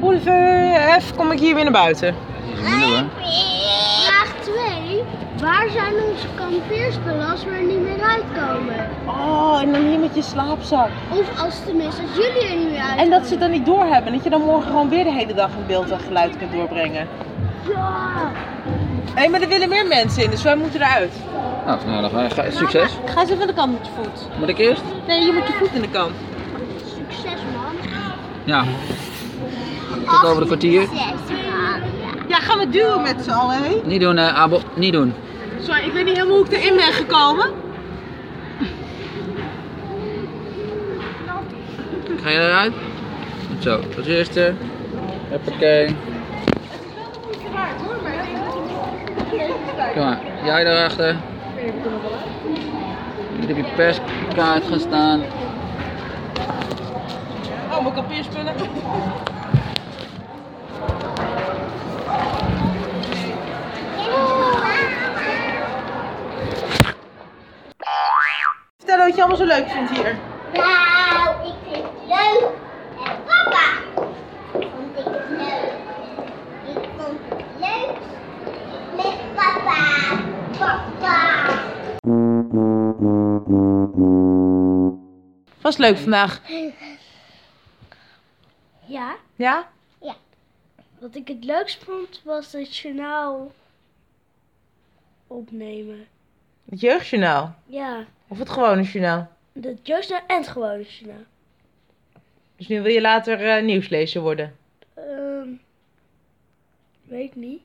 C: Hoe de verf kom ik hier weer naar buiten?
D: Vraag 2. Waar zijn onze kampeerspullen als we er niet meer uitkomen?
C: Oh, en dan hier met je slaapzak.
D: Of als tenminste als jullie er niet meer uitkomen.
C: En dat ze het dan niet doorhebben. Dat je dan morgen gewoon weer de hele dag in beeld en geluid kunt doorbrengen.
D: Ja.
C: Hé, maar er willen meer mensen in, dus wij moeten eruit.
E: Nou, nou dan ga, ga- succes.
C: Ga eens even aan de kant met je voet.
E: Moet ik eerst?
C: Nee, je moet je voet in de kant.
D: Succes man.
E: Ja. Tot over een kwartier.
D: Succes man.
C: Ja, gaan we duwen met z'n allen, hè?
E: Niet doen, eh Abel. Niet doen.
C: Sorry, ik weet niet helemaal hoe ik erin ben gekomen.
E: Ga je eruit? Goed Zo, als eerste. Hoppakee. Kom maar, jij daarachter. Hier heb je perskaart gaan staan.
C: Oh, mijn kampeerspullen. Vertel wat je allemaal zo leuk vindt hier.
D: Nou, ik vind het leuk. En papa vond ik het leuk. Ik vond het leuk met papa. Papa.
C: Was leuk vandaag.
J: Ja,
C: Ja?
J: wat ik het leukst vond was het journaal opnemen.
C: Het jeugdjournaal.
J: Ja,
C: Of het gewone journaal.
J: het jeugdjournaal en het gewone journaal.
C: Dus nu wil je later eh, nieuwslezer worden.
J: Ehm, weet niet.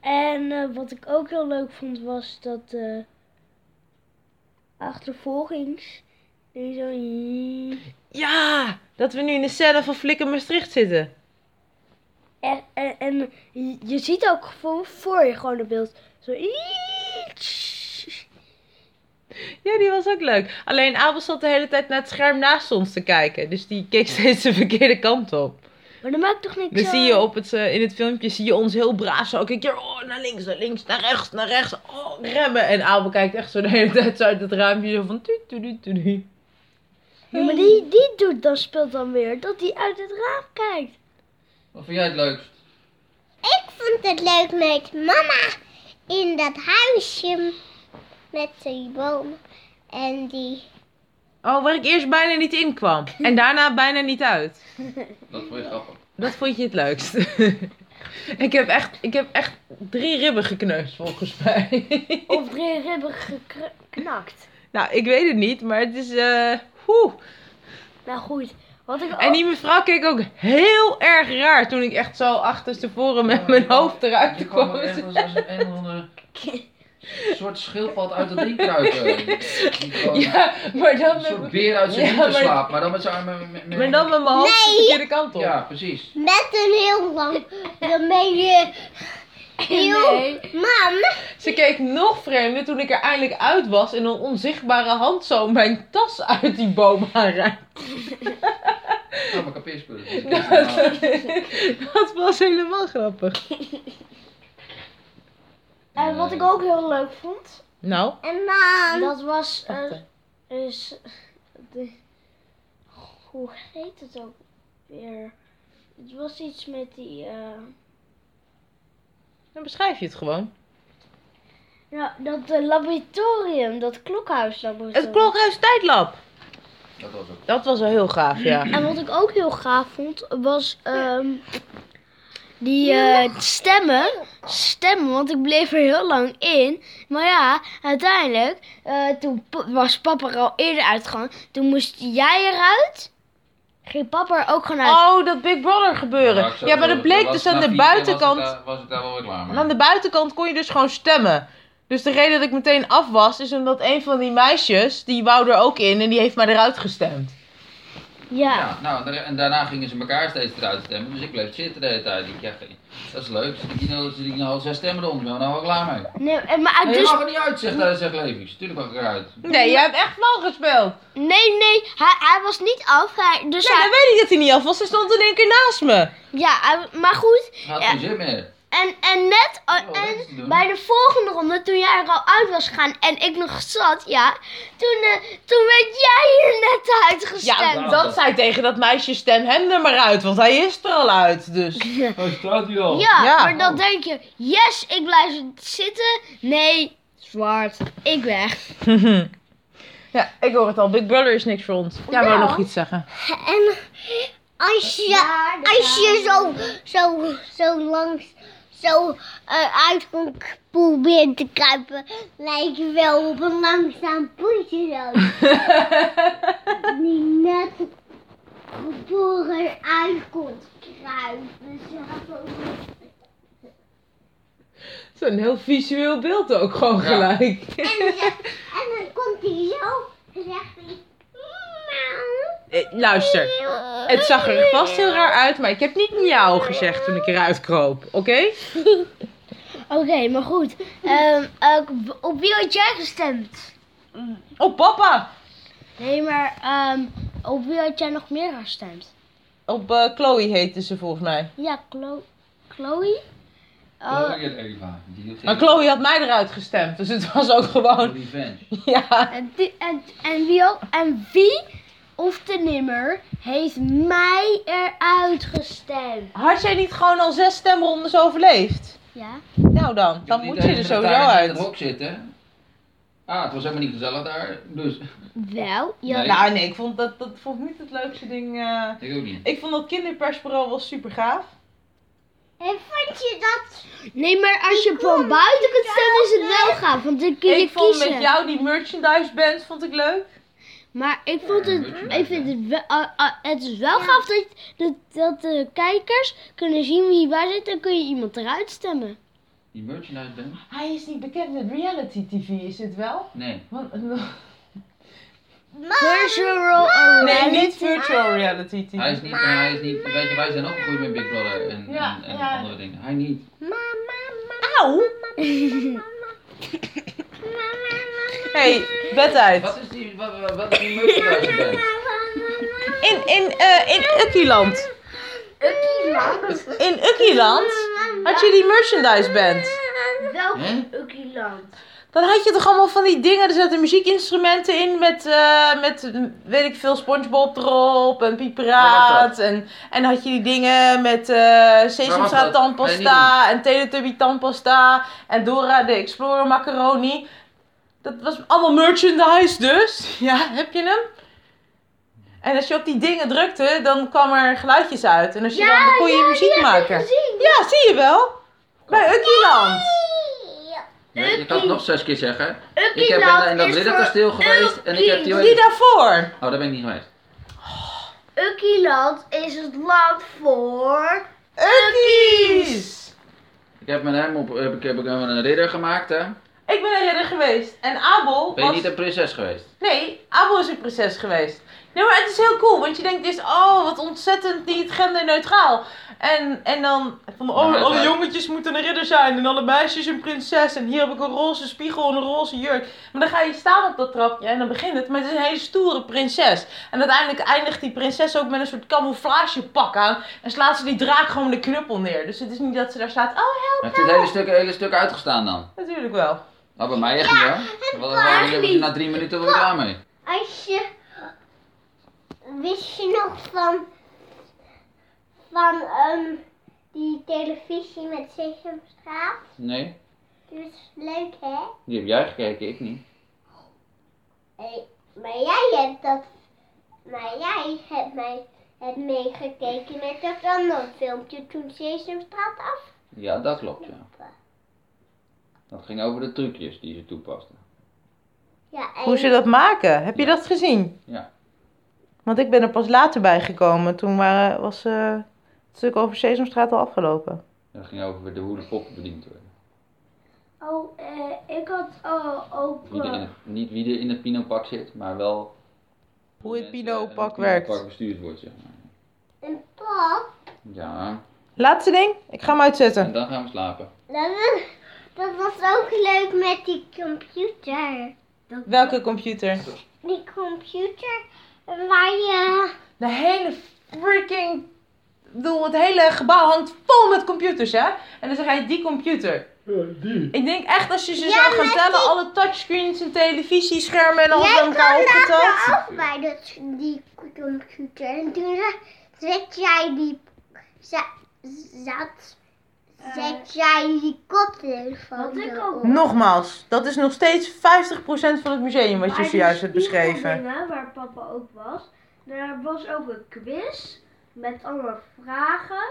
J: en eh, wat ik ook heel leuk vond was dat eh achtervolgings. Die zo.
C: Ja! Dat we nu in de cellen van Flikker Maastricht zitten.
J: En, en, en je ziet ook voor, voor je gewoon het beeld. Zo.
C: Ja, die was ook leuk. Alleen Abel zat de hele tijd naar het scherm naast ons te kijken. Dus die keek steeds de verkeerde kant op.
J: Maar dat maakt toch niks
C: Dan
J: uit?
C: zie je op het, eh, in het filmpje zie je ons heel braaf zo. Kijk keer oh, naar links, naar links, naar rechts, naar rechts. Oh, remmen. En Abel kijkt echt zo de hele [LAUGHS] tijd zo uit het raampje. Zo van tu, tu, tu, tu, tu.
J: Ja, maar die, die doet dan speelt dan weer dat hij uit het raam kijkt.
E: Wat vind jij het leukst?
D: Ik vond het leuk met mama in dat huisje met die bomen en die.
C: Oh, waar ik eerst bijna niet in kwam. En daarna bijna niet uit.
E: Dat vond je grappig.
C: Dat vond je het leukst. [LAUGHS] ik, heb echt, ik heb echt drie ribben gekneusd volgens mij. [LAUGHS]
J: Of drie ribben geknakt.
C: nou, ik weet het niet, maar het is... eh Oeh.
J: Nou goed, wat ik
C: En die mevrouw keek ook heel erg raar toen ik echt zo achterstevoren met mijn hoofd eruit Oh, kwam.
E: een of andere soort schildpad uit het eh, ding kruipen.
C: [LAUGHS] Ja, maar dan
E: Een soort
C: met,
E: beer uit zijn
C: Ja,
E: wieken
C: maar-
E: slaap, maar dan met zijn met, met,
C: maar dan met mijn hoofd de verkeerde kant op.
E: Ja, precies.
D: Met een heel
J: [LAUGHS]
D: lang. Daarmee je. Heel. Mam.
C: Ze keek nog vreemder toen ik er eindelijk uit was en een onzichtbare hand zo mijn tas uit die boom aanraakte.
E: Oh, mijn kampeerspullen.
C: [LAUGHS] Dat, [LAUGHS] dat was helemaal grappig.
J: En wat ik ook heel leuk vond,
C: Nou,
D: En mam.
J: dat was. eh,
C: Wacht,
J: is, de, hoe heet het ook weer? Het was iets met die. eh,
C: dan beschrijf je het gewoon.
J: nou, dat eh, laboratorium, dat klokhuislaboratorium.
C: Het klokhuis tijdlab.
E: Dat was ook.
C: Dat was wel heel gaaf, ja.
J: En wat ik ook heel gaaf vond, was ehm, die eh, stemmen. Stemmen, want ik bleef er heel lang in. Maar ja, uiteindelijk, eh, toen pa- was papa er al eerder uitgegaan. Toen moest jij eruit. Ging papa er ook gewoon uit.
C: Oh, dat Big Brother gebeuren. Ja, maar dat bleek dus aan de buitenkant.
E: Was ik daar wel weer klaar
C: En aan de buitenkant kon je dus gewoon stemmen. Dus de reden dat ik meteen af was, is omdat een van die meisjes, die wou er ook in en die heeft mij eruit gestemd.
D: Ja.
E: Ja, nou, daar- en daarna gingen ze elkaar steeds eruit stemmen, dus ik bleef zitten de hele tijd. Ik dacht, dat is leuk, zit ik nou, zit ik nou, zij stemmen erom, nou, nou, wel klaar mee.
D: Nee,
J: eh,
D: en maar
E: Nee, je
D: dus...
E: mag er niet uit, zegt, eh, zegt Levi's. Tuurlijk mag ik eruit.
C: Nee, jij hebt echt flauw gespeeld.
D: Nee, nee, hij, hij was niet af. Hij, dus
C: nee,
D: hij...
C: dan weet ik dat hij niet af was. Hij stond in één keer naast me.
D: Ja, hij- maar goed.
E: Gaat
D: ja,
E: geen zin meer.
D: En, en net
J: eh,
E: Oh,
D: en bij de volgende ronde, toen jij er al uit was gegaan en ik nog zat, ja, toen, eh, toen werd jij hier net uitgestemd.
C: Ja, dat zei tegen dat meisje stem hem er maar uit, want hij is er al uit, dus.
E: Hij staat hier
D: Ja, maar dan denk je, yes, ik blijf zitten. Nee, zwart, ik weg.
C: ja, ik hoor het al. Big Brother is niks voor ons. Jij wou
D: Ja.
C: nog iets zeggen.
O: En
D: Als je, als je zo, zo, zo langs, zo eh uit kon k- proberen te kruipen, lijkt je wel op een langzaam poesje
C: [LAUGHS]
D: zo. Die net geboren uit kon kruipen. zo.
C: [LAUGHS] Zo'n heel visueel beeld ook gewoon gelijk.
O: En dan komt hij zo en zegt hij...
C: Eh, luister, het zag er vast heel raar uit, maar ik heb niet miauw gezegd toen ik eruit kroop, oké?
D: Oké, maar goed. Ehm, eh, op- op wie had jij gestemd?
C: Op Oh, papa!
D: Nee, maar ehm, op wie had jij nog meer gestemd?
C: Op eh, Chloe heette ze volgens mij.
D: Ja, Chlo Chloe?
E: Oh,
D: Oh,
E: ja, Eva. Die doet
C: Maar
E: geen
C: Chloe had mij eruit gestemd, dus het was ook gewoon... [LAUGHS]
E: revenge.
C: Ja.
D: en, die- en, en wie ook? En wie of de nimmer heeft mij eruit gestemd?
C: Had jij niet gewoon al zes stemrondes overleefd?
D: Ja.
C: Nou dan, dan moet je er sowieso uit.
E: in het hok zitten. Ah, het was helemaal niet gezellig daar, dus...
D: Wel?
E: ja. Nee.
C: Nou nee, ik vond dat, dat vond ik niet het leukste ding. eh.
E: Ik ook niet.
C: Ik vond dat kinderpersbureau wel super gaaf.
O: En vond je dat...
D: Nee, maar als je van buiten kunt stemmen is het wel gaaf, want dan kun je
C: ik vond
D: kiezen.
C: met jou die merchandise band vond ik leuk.
D: Maar ik vond het, ik vind het wel, ah, ah, het is wel gaaf dat, dat, dat de kijkers kunnen zien wie waar zit en kun je iemand eruit stemmen.
E: Die merchandise band?
C: Hij is niet bekend met reality tv, is het wel?
E: Nee.
C: Want-
D: Virtual
C: Nee, niet virtual reality tv.
E: Hij is niet, hij is niet, weet je, wij zijn opgegroeid met Big Brother en,
C: Ja,
E: en, en
C: ja.
E: andere dingen. Hij niet.
C: Auw! hey, bedtijd.
E: Wat is die, wat, wat, wat is die merchandise
D: [LAUGHS]
E: band?
C: In, in, eh in Ukkieland. In Ukkieland had je die merchandise band.
D: Welk
C: Hè?
D: Ukkieland?
C: Dan had je toch allemaal van die dingen, er zaten muziekinstrumenten in met, eh, met weet ik veel, Spongebob erop en
E: Waar was
C: Pieperaat. En, en had je die dingen met eh
E: Waar was
C: Sesamstraat
E: dat?
C: tandpasta en Teletubby tandpasta en Dora de Explorer macaroni. Dat was allemaal merchandise dus. [LAUGHS] Ja, heb je hem? En als je op die dingen drukte, dan kwam er geluidjes uit. En als je dan, dan kon je muziek maken. Ja, zie je wel? Bij Ukkieland.
E: Nee, je kan het nog zes keer zeggen.
C: Ukkie
E: ik heb
C: Land
E: in, in dat
C: is
E: ridderkasteel
C: voor
E: geweest en ik heb die...
C: Die daarvoor.
E: Oh, daar ben ik niet geweest.
D: Ukkieland is het land voor...
C: Ukkies!
E: Ik heb met hem op, heb ik, heb ik hem een ridder gemaakt, hè.
C: Ik ben een ridder geweest. En Abel
E: Ben je
C: was...
E: niet een prinses geweest?
C: Nee, Abel is een prinses geweest. Nee, maar het is heel cool. Want je denkt dus, oh, wat ontzettend niet genderneutraal. En, en dan van, oh,
E: Maar-
C: alle jongetjes moeten een ridder zijn. En alle meisjes een prinses. En hier heb ik een roze spiegel en een roze jurk. Maar dan ga je staan op dat trapje en dan begint het met een hele stoere prinses. En uiteindelijk eindigt die prinses ook met een soort camouflagepak aan. En slaat ze die draak gewoon met een knuppel neer. Dus het is niet dat ze daar staat, oh,
E: Heeft dit hele stuk, hele stuk uitgestaan dan?
C: natuurlijk wel.
E: Nou, bij mij echt niet, hoor. Wel- wel-
O: echt
E: wel-
O: niet.
E: Na drie minuten was ik klaar mee.
O: Als je... Wist je nog van... Van ehm, die televisie met Sesamstraat?
E: Nee,
O: Dus leuk hè?
E: die heb jij gekeken, ik niet.
O: Hey, maar jij hebt dat... Maar jij hebt mij... Hebt meegekeken met dat andere filmpje toen Sesamstraat af.
E: Ja, dat klopt, ja. Dat ging over de trucjes die ze toepasten.
O: Ja, en-
C: Hoe ze dat maken, heb je dat gezien?
E: Ja.
C: Want ik ben er pas later bij gekomen. Toen waren, was eh, het stuk over Sesamstraat al afgelopen.
E: Dat ging over de, hoe de poppen bediend worden.
O: Oh, eh, ik had oh, ook...
E: Wie er in het, niet wie er in het pinopak zit, maar wel
C: Hoe het
E: Pino-pak
C: werkt.
E: Pak bestuurd wordt, ja.
D: Een pap,
E: Ja.
C: Laatste ding, ik ga hem uitzetten.
E: En dan gaan we slapen.
D: dat was, dat was ook leuk met die computer.
C: Welke computer?
D: Die computer waar je...
C: De hele freaking... Ik bedoel, het hele gebouw hangt vol met computers, hè? En dan zeg jij die computer.
N: die.
C: Ik denk echt als je ze
D: Ja,
C: zou gaan
D: met
C: tellen,
D: die-
C: alle touchscreens en televisieschermen en alles bij
D: Jij
C: elkaar
D: kwam
C: opgeteld.
D: later ook bij dat, die computer. En toen ze- zet jij die... za- Zat,
P: Eh,
D: zet jij die koptelefoon erop.
C: Nogmaals, dat is nog steeds 50% van het museum wat je
P: Bij de
C: zojuist hebt beschreven.
P: spiegelringen, Waar papa ook was. Er was ook een quiz met allemaal vragen.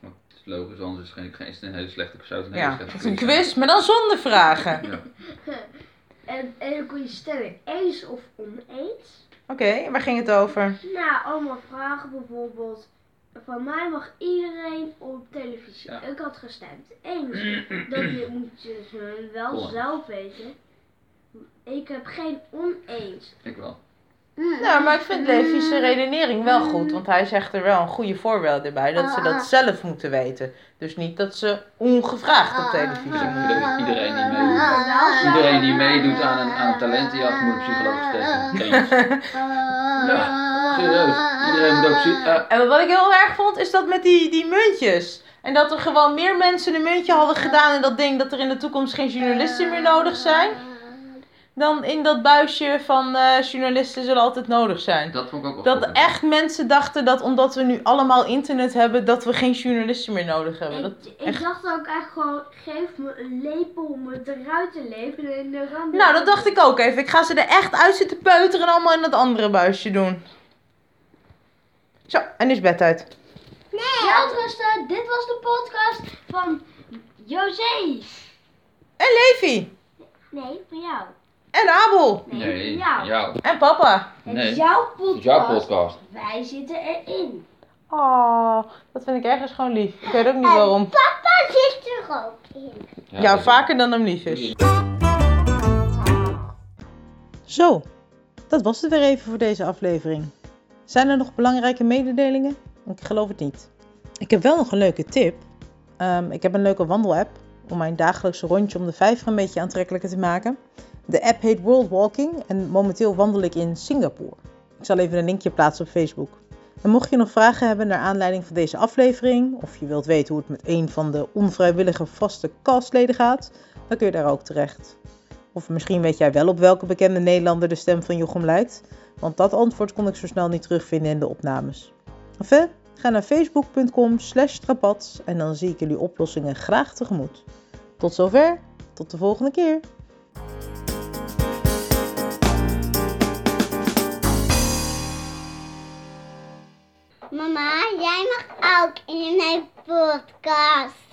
E: Het is logisch, anders is het geen, geen, een hele slechte persoon. een hele
C: Ja,
E: slechte
C: het Nou, is een
E: quiz.
C: quiz, maar dan zonder vragen.
E: Ja.
P: En, en dan kon je stemmen eens of oneens.
C: [LAUGHS] Oké, waar ging het over?
P: Nou, allemaal vragen bijvoorbeeld. Van mij mag iedereen op televisie. Ik had gestemd. Eens.
E: [CLEARS THROAT]
P: Dat je- moet je ze wel
E: Oneens.
P: zelf weten. Ik heb geen oneens. Hmm.
E: Ik wel.
C: Nou, maar ik vind Levi's redenering wel goed, want hij zegt er wel een goede voorbeeld bij dat ze dat zelf moeten weten. Dus niet dat ze ongevraagd op
E: Dus
C: televisie moeten.
E: Dat Iedereen die meedoet, iedereen die meedoet aan een, aan een talentenjacht moet een psychologische test
C: [LAUGHS]
E: doen. Eens. Ja, serieus. Iedereen moet ook zien. eh,
C: En wat ik heel erg vond, is dat met die, die muntjes. En dat er gewoon meer mensen een muntje hadden gedaan in dat ding, dat er in de toekomst geen journalisten meer nodig zijn. Dan in dat buisje van eh, journalisten zullen altijd nodig zijn.
E: dat vond ik ook wel
C: Dat
E: goed.
C: echt mensen dachten dat omdat we nu allemaal internet hebben, dat we geen journalisten meer nodig hebben. Dat
P: Ik dacht ook echt gewoon, geef me een lepel om het eruit te leven en de randen.
C: Nou, dat dacht ik ook even. Ik ga ze er echt uit zitten peuteren en allemaal in dat andere buisje doen. Zo, en nu is bedtijd.
P: Nee! Ja, rusten, dit was de podcast van José.
C: En Levi.
P: Nee, van jou.
C: En Abel.
E: Nee,
P: jou.
E: jou.
C: En papa.
E: Het Nee. is
P: jouw
E: Het is jouw podcast.
P: Wij zitten erin.
C: Oh, dat vind ik ergens gewoon lief. Ik weet ook niet waarom.
D: Papa zit er ook in.
C: Ah. Ja, vaker dus. dan hem lief is.
A: Zo, dat was het weer even voor deze aflevering. Zijn er nog belangrijke mededelingen? Ik geloof het niet. Ik heb wel nog een leuke tip. Ehm, ik heb een leuke wandelapp om mijn dagelijkse rondje om de vijver een beetje aantrekkelijker te maken. De app heet World Walking en momenteel wandel ik in Singapore. Ik zal even een linkje plaatsen op Facebook. En mocht je nog vragen hebben naar aanleiding van deze aflevering, of je wilt weten hoe het met een van de onvrijwillige vaste castleden gaat, dan kun je daar ook terecht. Of misschien weet jij wel op welke bekende Nederlander de stem van Jochem lijkt, want dat antwoord kon ik zo snel niet terugvinden in de opnames. Enfin, ga naar facebook.com slash strapats en dan zie ik jullie oplossingen graag tegemoet. Tot zover, tot de volgende keer!
D: Mama, jij mag ook in mijn podcast.